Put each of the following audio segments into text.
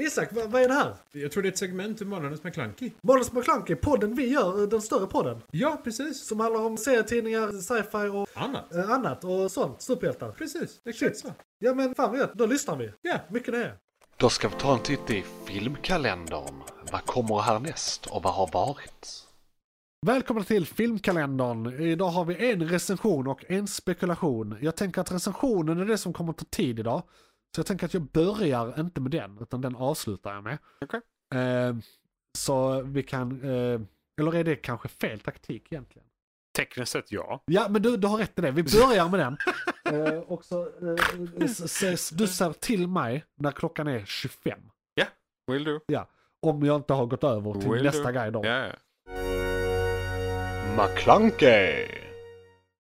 Isak, vad, vad är det här? Jag tror det är ett segment ur Månadens McKlunky. Måns McClunky, podden vi gör, eh, den större podden. Ja, precis. Som handlar om serietidningar, sci-fi och Annat. eh, annat och sånt. Superhjältar. Precis, exakt Shit. så. Ja men fan vad gött, då lyssnar vi. Ja. Mycket det. Då ska vi ta en titt i filmkalendern. Vad kommer härnäst och vad har varit? Välkomna till filmkalendern. Idag har vi en recension och en spekulation. Jag tänker att recensionen är det som kommer ta tid idag. Så jag tänker att jag börjar inte med den, utan den avslutar jag med. Okej. Eh, så vi kan... Eh, eller är det kanske fel taktik egentligen? Tekniskt sett ja. Ja, men du, du har rätt i det. Vi börjar med den. Eh, och så, eh, s- ses- du säger till mig när klockan är 25. Will do. Om jag inte har gått över till Will nästa do. guide. då. Ja, ja. McClunkey!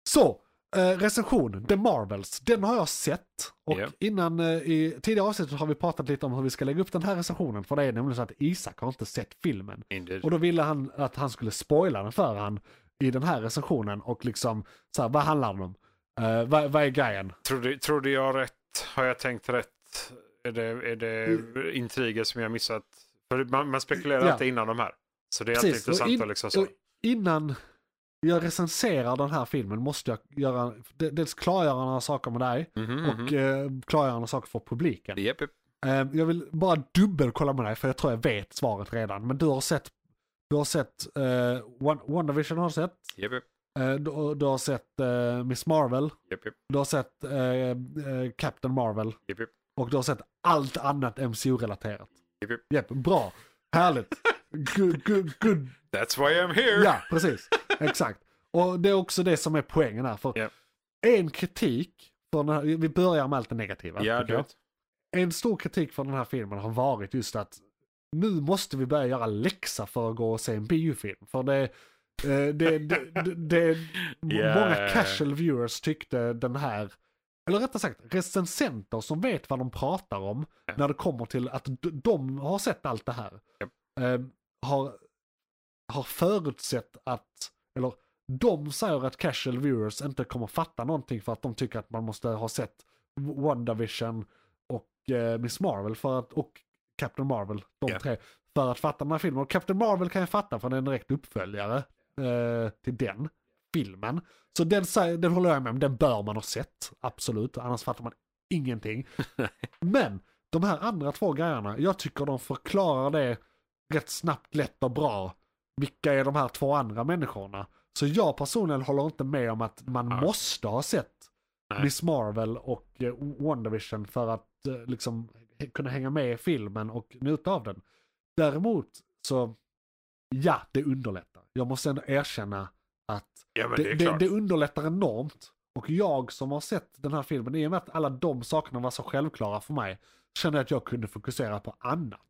Så, eh, recension, The Marvels, den har jag sett. Och Ja. innan, eh, i tidigare avsnittet har vi pratat lite om hur vi ska lägga upp den här recensionen. För det är nämligen så att Isak har inte sett filmen. Indeed. Och då ville han att han skulle spoila den för han i den här recensionen. Och liksom, så här, vad handlar den om? Eh, vad, vad är grejen? Trodde, trodde jag rätt? Har jag tänkt rätt? Är det, är det intriger som jag missat? För man, man spekulerar Mm. Ja. alltid innan de här. Så det är alltid Precis, och intressant in- att liksom så. och Innan jag recenserar den här filmen måste jag göra, de- dels klargöra några saker med dig. Mhm, mhm. Och eh, klargöra några saker för publiken. Japp, japp. Eh, Jag vill bara dubbelkolla med dig för jag tror jag vet svaret redan. Men du har sett, du har sett uh, WandaVision har du sett. Japp, japp. Eh, du, du har sett eh, Miss Marvel. Japp, japp. Du har sett eh, eh, Captain Marvel. Japp, japp. Och du har sett allt annat MCU-relaterat. Japp, japp. Japp, bra. Härligt. Good, good, good. That's why I'm here! Ja, precis. Exakt. Och det är också det som är poängen här. För Japp. en kritik, för den här, vi börjar med allt det negativa. Ja, tycker du jag vet. en stor kritik för den här filmen har varit just att nu måste vi börja göra läxa för att gå och se en biofilm. För det, eh, det, det, det, det Ja. många casual viewers tyckte den här, eller rättare sagt recensenter som vet vad de pratar om när det kommer till att d- de har sett allt det här. Japp. Eh, har, har förutsett att, eller de säger att casual viewers inte kommer fatta någonting för att de tycker att man måste ha sett WandaVision och eh, Miss Marvel för att, och Captain Marvel, de Ja. tre, för att fatta den här filmen. Och Captain Marvel kan jag fatta för den är en direkt uppföljare eh, till den filmen. Så den, sä- den håller jag med om, den bör man ha sett, absolut. Annars fattar man ingenting. Men de här andra två grejerna, jag tycker de förklarar det rätt snabbt, lätt och bra. Vilka är de här två andra människorna? Så jag personligen håller inte med om att man Nej. måste ha sett Nej. Miss Marvel och eh, WandaVision för att eh, liksom h- kunna hänga med i filmen och njuta av den. Däremot så, ja, det underlättar. Jag måste ändå erkänna att Ja, men det, det, är det, klart. det underlättar enormt. Och jag som har sett den här filmen, i och med att alla de sakerna var så självklara för mig, kände jag att jag kunde fokusera på annat.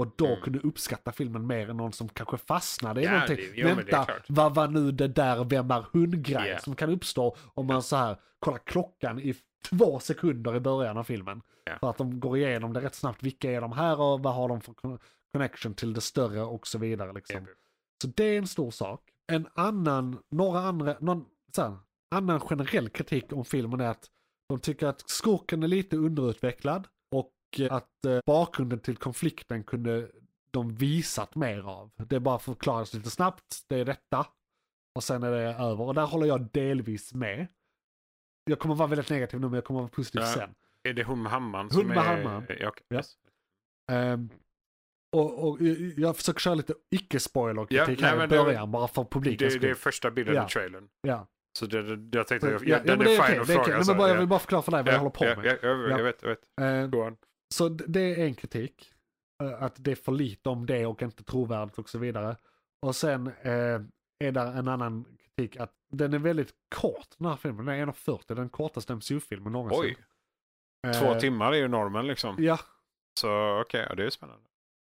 Och då Mm. kunde uppskatta filmen mer än någon som kanske fastnade i Ja, någonting. det- jo, men det är Vänta, klart. vad var nu det där vem är hund-grejen Ja. som kan uppstå om man så här kollar klockan i två sekunder i början av filmen. Ja. För att de går igenom det rätt snabbt, vilka är de här och vad har de för con- connection till det större och så vidare. Liksom. Japp, japp. Så det är en stor sak. En annan, några andra, någon så här, annan generell kritik om filmen är att de tycker att skurken är lite underutvecklad och eh, att eh, bakgrunden till konflikten kunde de visat mer av. Det bara förklaras lite snabbt, det är detta och sen är det över. Och där håller jag delvis med. Jag kommer vara väldigt negativ nu men jag kommer vara positiv Ja. sen. Är det hon med hammaren som Hon med är... hammaren. Ja, okej. Ja. Ehm, och, och jag försöker köra lite icke-spoiler-kritik Ja, nej, här i men det- början bara för publikens Det, det är skull. första bilden Ja. i trailern. Ja. Så det, det, jag tänkte, Ja, jag, ja, den men är det fin okej, att det är fråga. okej. Nej, så, men bara, ja. jag vill bara förklara för dig vad jag håller på med. Ja, jag, jag, Ja. jag vet, jag vet. Ehm, Go on. Så d- det är en kritik. eh, Att det är för lite om det och inte trovärdigt och så vidare. Och sen eh, är där en annan kritik att den är väldigt kort den här filmen. Den är 1.40, den kortaste MCU-filmen någonsin. Oj, Eh, två timmar är ju normen liksom. Ja, Så okej, ja, det är ju spännande.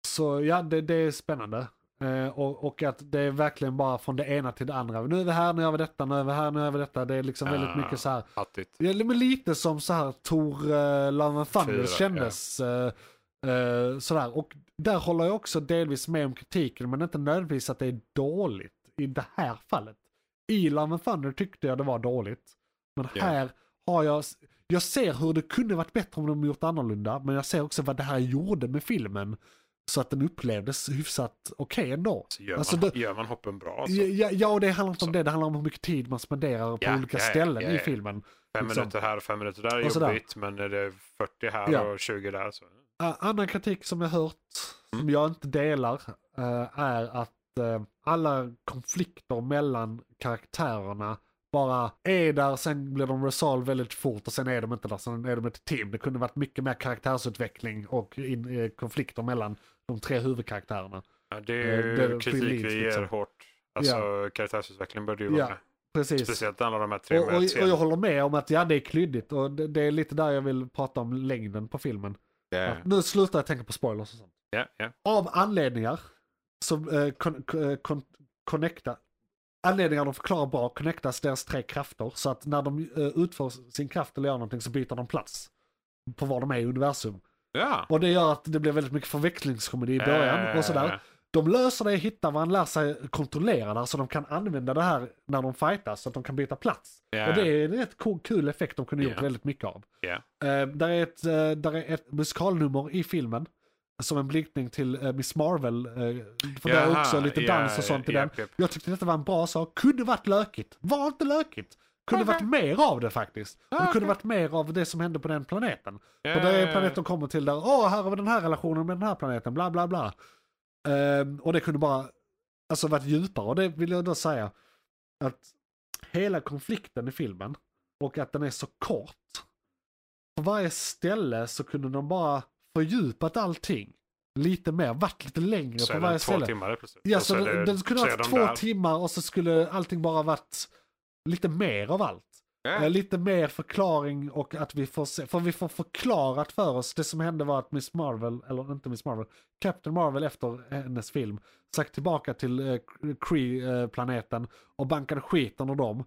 så ja det, det är spännande. Eh, och, och att det är verkligen bara från det ena till det andra. Nu är vi här, nu gör vi detta, nu är vi här, nu gör vi detta. Det är liksom väldigt Ah. mycket så här Hattigt. Ja, men lite som så här Tor uh, Love and Thunder Fyra, kändes. eh, eh, sådär. Och där håller jag också delvis med om kritiken, men inte nödvändigtvis att det är dåligt i det här fallet. I Love and Thunder tyckte jag det var dåligt. Men Ja. här har jag, Jag ser hur det kunde varit bättre om de gjort annorlunda, men jag ser också vad det här gjorde med filmen. Så att den upplevdes hyfsat okej ändå. Så gör, Alltså, man, det- gör man hoppen bra alltså. Ja, ja, ja, det handlar inte om Så. det. Det handlar om hur mycket tid man spenderar på Ja, olika ja, ja, ställen ja, i ja. filmen. Fem liksom. minuter här och fem minuter där är Och sådär. jobbigt. Men är det 40 här Ja. och 20 där så. Ä, Eh, annan kritik som jag hört, som Mm. jag inte delar, eh, är att eh, alla konflikter mellan karaktärerna bara är där, sen blir de resolve väldigt fort och sen är de inte där, sen är de ett team. Det kunde varit mycket mer karaktärsutveckling och in, eh, konflikter mellan de tre huvudkaraktärerna. Ja, det Eh, är ju det är kritik skiljelinjer, vi ger liksom. hårt. Alltså karaktärsutveckling bör du ju vara Ja, med. Precis. Speciellt alla de här tre Och, och, och möts igen. jag håller med om att ja, det är klyddigt och det, det är lite där jag vill prata om längden på filmen. Ja, Att Nu slutar jag tänka på spoilers och sånt. ja, ja. Av anledningar som eh, kon, kon, eh, kon, connecta, anledningar de förklarar bra connectas deras tre krafter så att när de eh, utför sin kraft eller gör någonting så byter de plats på var de är i universum. ja. Och det gör att det blir väldigt mycket förväxlingskomedi i början Eh, och sådär. De löser det, hittar vad han lär sig kontrollera där så de kan använda det här när de fightas så att de kan byta plats. Ja. Och det är en rätt cool, kul effekt de kunde gjort Ja. väldigt mycket av. Ja. Eh, där, är ett, eh, där är ett musikalnummer i filmen som en blinkning till eh, Miss Marvel. eh, för det är Jaha, också lite ja, dans och sånt i ja, den. japp, japp. Jag tyckte detta var en bra sak. Kunde varit lökigt. Var inte lökigt. Kunde varit mer av det faktiskt. Och det kunde varit mer av det som hände på den planeten. Ja, För det är ja, en ja. planet de kommer till där, åh, här har vi den här relationen med den här planeten, bla bla bla. Ehm, och det kunde bara, alltså varit djupare. Och det vill jag då säga, att hela konflikten i filmen, och att den är så kort. På varje ställe så kunde de bara fördjupat allting lite mer, varit lite längre Så på är varje den två ställe. timmar plötsligt. Ja, Och så är den, den skulle så ha är haft de två där. timmar och så skulle allting bara varit lite mer av allt. Eh, Lite mer förklaring och att vi får se, för vi får förklarat för oss, det som hände var att Miss Marvel, eller inte Miss Marvel, Captain Marvel efter hennes film, stack tillbaka till eh, Cree-planeten och bankade skiten ur dem.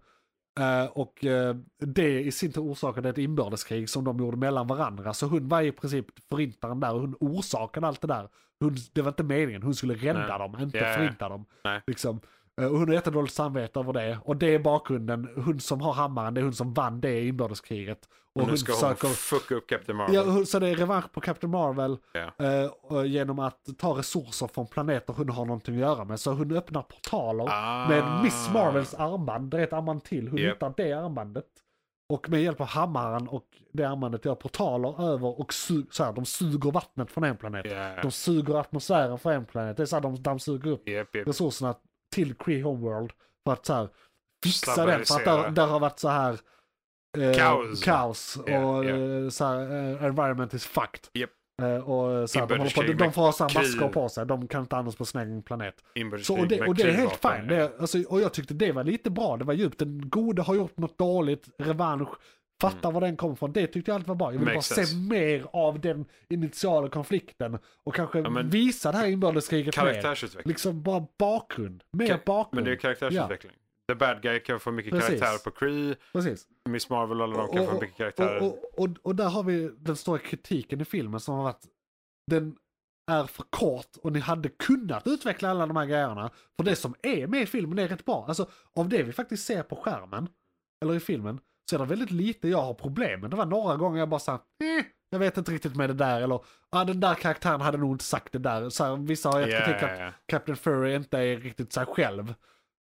Eh, och eh, det i sin tur orsakade ett inbördeskrig som de gjorde mellan varandra. Så hon var i princip förintaren där och hon orsakade allt det där. Hon, det var inte meningen, hon skulle rädda Nej. dem, inte Ja, ja. förinta dem. Nej. Liksom. Eh, Och hon har jättedåligt samvete över det. Och det är bakgrunden. Hon som har hammaren, det är hon som vann det inbördeskriget. Och Nu ska försöker- hon fucka upp Captain Marvel. Ja, hon- så det är revansch på Captain Marvel Ja. eh, och genom att ta resurser från planeter hon har någonting att göra med. Så hon öppnar portaler Ah. med Miss Marvels armband, det är ett armband till. Hon Japp. hittar det armbandet. Och med hjälp av hammaren och det armbandet gör portaler över och su- så här, de suger vattnet från en planet. Ja. De suger atmosfären från en planet. Det är så här, de dammsuger upp Japp, japp. resurserna till Cree Homeworld för att så här, fixa den. För att Stabilisera. där, där har varit så här eh, Kaos. kaos och Ja, ja. eh, så här, eh, environment is fucked. Japp. Eh, och så här, de, håller på, de, Inbördeskrig de får ha så här med masker krig. på sig, de kan inte andas på sin egen planet. Så, Inbördeskrig och, det, med och det är helt klyvvapen. fint. Det, alltså, och jag tyckte det var lite bra, det var djupt. Den gode har gjort något dåligt, revansch, fatta var den kom från. Det tyckte jag allt var bra. Jag vill bara Mm. Makes se sense. mer av den initiala konflikten och kanske Ja, men- visa det här inbördeskriget mer. Karaktärsutveckling. Liksom bara bakgrund, mer Ka- bakgrund. Men det är karaktärsutveckling. The bad guy kan få mycket Precis. karaktär på Cree. Precis. Miss Marvel alla de kan få mycket karaktärer. Och, och, och, och där har vi den stora kritiken i filmen som har varit den är för kort och ni hade kunnat utveckla alla de här grejerna. För det som är med i filmen är rätt bra. Alltså av det vi faktiskt ser på skärmen, eller i filmen, så är det väldigt lite jag har problem med. Det var några gånger jag bara sa, eh, jag vet inte riktigt med det där eller, ah, den där karaktären hade nog inte sagt det där. Så här, vissa har gett Ja, kritik ja, att ja. Captain Fury inte är riktigt sig själv.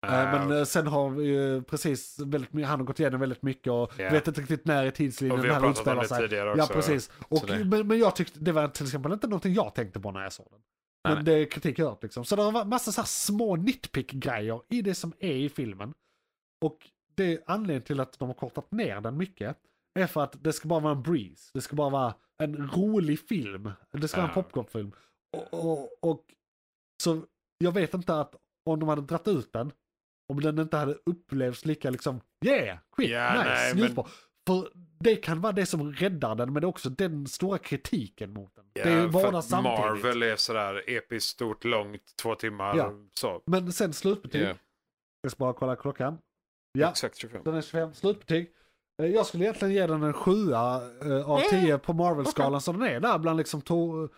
Ah, Eh, Men eh, sen har vi ju precis, väldigt, my- han har gått igenom väldigt mycket och Ja. vet inte riktigt när i tidslinjen Och vi den har här pratat om utspelar det sig. tidigare Ja, också. precis. Och, det- men, men jag tyckte, det var till exempel inte någonting jag tänkte på när jag såg den. Men Nej, det är kritik jag hört liksom. Så det har varit massa så här små nitpick-grejer i det som är i filmen. Och det är anledningen till att de har kortat ner den mycket är för att det ska bara vara en breeze. Det ska bara vara en rolig film. Det ska vara en Ja. popcornfilm. Och, och, och så jag vet inte att om de hade dratt ut den, om den inte hade upplevts lika liksom yeah, skit, Ja, nej, nice, men- njutbar. För det kan vara det som räddar den, men det är också den stora kritiken mot den. Ja, det är för båda att samtidigt. Marvel är sådär episkt, stort, långt, två timmar. Ja. Så. Men sen slutbetyg. Ja. Jag ska bara kolla klockan. Ja, Exakt 25. den är 25. Slutbetyg. Eh, Jag skulle egentligen ge den en 7 av 10 på Marvel-skalan som den är där bland liksom Tor,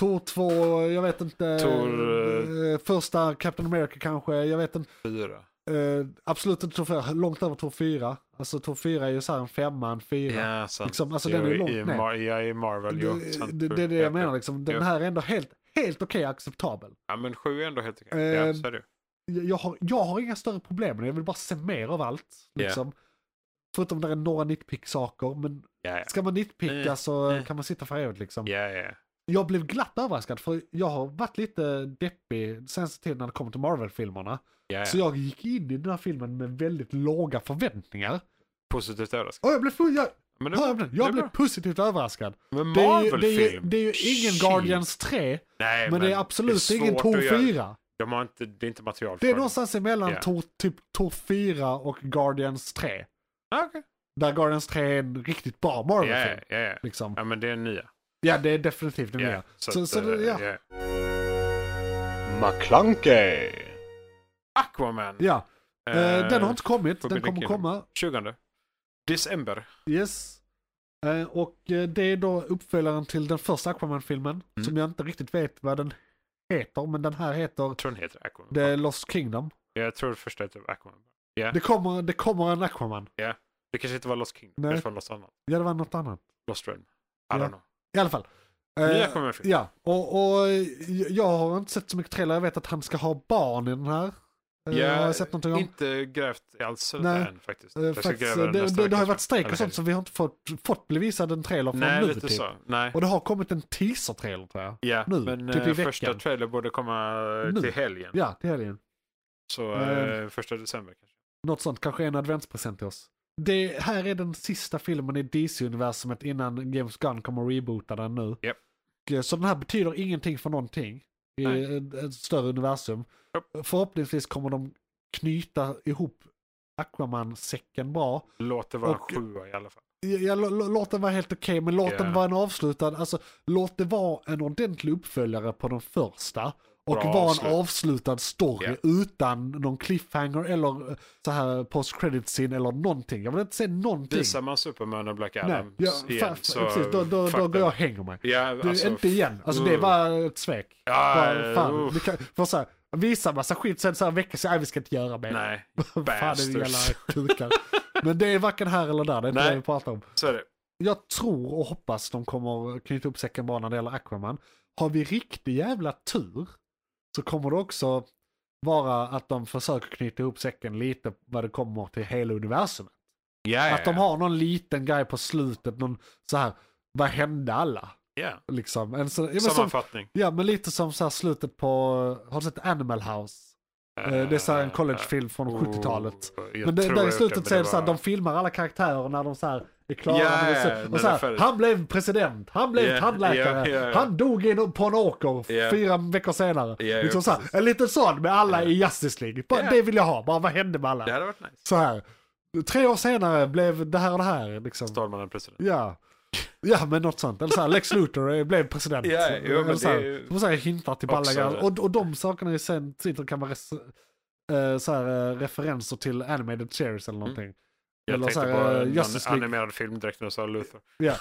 Tor 2, jag vet inte. Tor, eh, Första Captain America kanske, jag vet inte. Fyra. Eh, eh, absolut inte topp fyra, långt över topp fyra. Alltså topp fyra är ju så här en femma, en fyra. Ja, sant. Liksom, alltså, Jag den är ju långt i, ner. Mar- jag är i Marvel, jo. sant. det, det, det är det jag menar liksom. Den Ja. här är ändå helt, helt okej acceptabel. Ja, men sju är ändå helt okej. Ja, Eh, så är det ju. Jag jag har, jag har inga större problem med det, jag vill bara se mer av allt. Ja. Liksom. Förutom där är några nitpick-saker, men Ja, ja. ska man nitpicka Mm, så mm. kan man sitta för evigt liksom. Ja, ja. Jag blev glatt överraskad för jag har varit lite deppig senaste tiden när det kommer till Marvel-filmerna. Ja, ja. Så jag gick in i den här filmen med väldigt låga förväntningar. Positivt överraskad. Och jag blev, full, jag, Men, det, hör jag, blev- jag är blev bra. positivt överraskad. men Det är, ju, Marvel-film? det, är ju, det är ju ingen Shit. Guardians 3, Nej, men, det är absolut det är ingen svårt Tor att göra. 4. De har inte, det är inte material Det är för någonstans emellan Ja. Tor, typ Tor 4 och Guardians 3. Ah, okej. Där Guardians 3 är en riktigt bra Ja, Marvel-film. ja, ja, ja. Liksom. Ja, men det är nya. Ja, det är definitivt den nya. Så, så, att, det- eh, ja. ja. McClunkey! Aquaman! ja. Eh, den har inte kommit, får den bli kommer kul. komma. 20. December. Yes. Eh, och eh, det är då uppföljaren till den första Aquaman-filmen. Mm. Som jag inte riktigt vet vad den heter, men den här heter Jag tror den heter Aquaman. The Lost Kingdom. Jag tror det första heter Aquaman. Det kommer, det kommer en Aquaman. Det kanske inte var Lost Kingdom. Nej. Det kanske var Lost annat. Ja, det var något annat. Lost Realm. I Ja. don't know. I alla fall. Nya Eh, Aquaman-film. Ja, och, och eh, jag har inte sett så mycket trailer. Jag vet att han ska ha barn i den här. Eh, Ja, har jag sett någonting om. Inte grävt alls Nej. än faktiskt. Eh, Jag ska faktiskt, gräva det, nästa det, det vecka, har ju tror jag. varit strejk Eller och sånt helg. så vi har inte fått, fått bevisad en trailer från Nej, nu lite typ. så. Nej. Och det har kommit en teaser-trailer tror jag. Ja, nu, men typ i eh, första veckan. trailer borde komma eh, Nu. till helgen. Ja, till helgen. Så Eh. eh, första december kanske. Något sånt, kanske en adventspresent till oss. Det här är den sista filmen i DC-universumet innan James Gunn kommer att reboota den nu. Japp. Och, eh, Så den här betyder ingenting för någonting i Nej. ett, ett större universum. Japp. Förhoppningsvis kommer de knyta ihop Aquaman-säcken bra. Låt det vara Och- sjua i alla fall. Ja, lå- lå- låt den vara helt okej, men låt Ja. den vara en avslutad, alltså låt det vara en ordentlig uppföljare på den första. Och Bra vara avslut. en avslutad story Ja. utan någon cliffhanger eller eh, så här post credit scene eller någonting. Jag vill inte se någonting. Visar man Superman och Black Typ. Nej, Adam ja, igen fa- så... precis, då, då, fuck då går them. jag och hänger mig. Ja, Du, alltså, inte igen, alltså det uh. var ett svek. Ja, Bara, fan, uff. vi kan, för så här, visa massa skit sen så här veckor så här, "Nej, vi ska inte göra mer. Nej, fan det är vi jävla bastards. kukar. Men det är varken här eller där, det är inte Nej. det vi pratar om. så är det. Jag tror och hoppas de kommer knyta upp säcken bra när det gäller Aquaman. Har vi riktig jävla tur så kommer det också vara att de försöker knyta ihop säcken lite vad det kommer till hela universumet. Ja, ja, Att de har någon liten grej på slutet, någon så här, vad hände alla? ja. Liksom. En så, ja, men som, Sammanfattning. ja men lite som så här slutet på, har du sett Animal House? Eh, det är så här en collegefilm från Oh. eh, 70-talet. Men det, där i slutet så är det så här, de filmar alla karaktärer när de så här är klara. Ja, med det, ja, så, men och så här, därför- Han blev president, han blev Ja, tandläkare, ja, ja, ja. han dog i en- på en åker Ja. fyra veckor senare. Ja, ja, liksom så här, precis. en liten sån med alla Ja. i Justice League. Bara, Ja. Det vill jag ha, bara vad hände med alla? Det hade varit nice. Så här, tre år senare blev det här och det här. Liksom. Stålmannen president. Ja. Ja men något sånt. Eller såhär Lex Luthor eh, blev president. Ja, jo, men Eller så här, det är ju- Som såhär hintar till alla Också- grejer. Och, och de sakerna i sen sitter kan vara res, eh, så här, eh, referenser till animated series Mm. eller någonting. Jag Eller tänkte så här, på eh, en Justice an- League. animerad film direkt när jag sa Luther. Ja.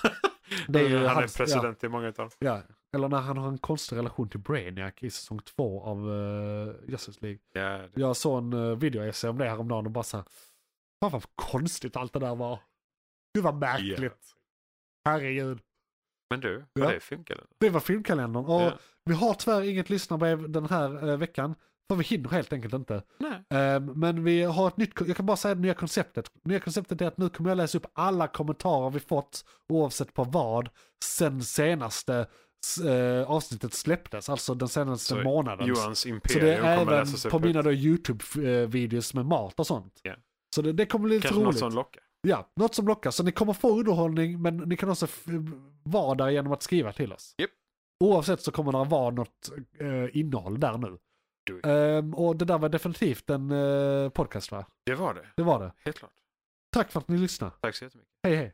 Det är ju, han är hans- president i många utav dem. Ja, ja. Eller när han har en konstig relation till Brainiac i säsong två av uh, Justice League. Ja, det- Jag såg en uh, video om det häromdagen och bara såhär. Fan vad konstigt allt det där var. Gud vad märkligt. Herregud. Men du, Ja. var det filmkalendern? Det var filmkalendern. Och Ja. Vi har tyvärr inget lyssnarbrev den här eh, veckan. För vi hinner helt enkelt inte. Nej. Ehm, men vi har ett nytt, jag kan bara säga det nya konceptet. Nya konceptet är att nu kommer jag läsa upp alla kommentarer vi fått, oavsett på vad, sen senaste s- eh, avsnittet släpptes. Alltså den senaste Så månaden. Johans Så det imperium är kommer även läsas upp. på högt. mina då YouTube-videos med mat och sånt. Ja. Så det, det kommer bli lite Kanske något roligt. som lockar. Ja, något som lockar. Så ni kommer få underhållning, men ni kan också f- vara där genom att skriva till oss. Japp. Oavsett så kommer det vara något eh, innehåll där nu. Do it. Ehm, och det där var definitivt en eh, podcast va? Det var det, Det var det. helt klart. Tack för att ni lyssnade. Tack så jättemycket. Hej hej.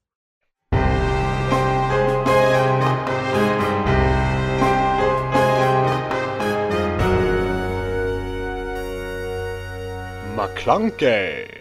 McClunkey!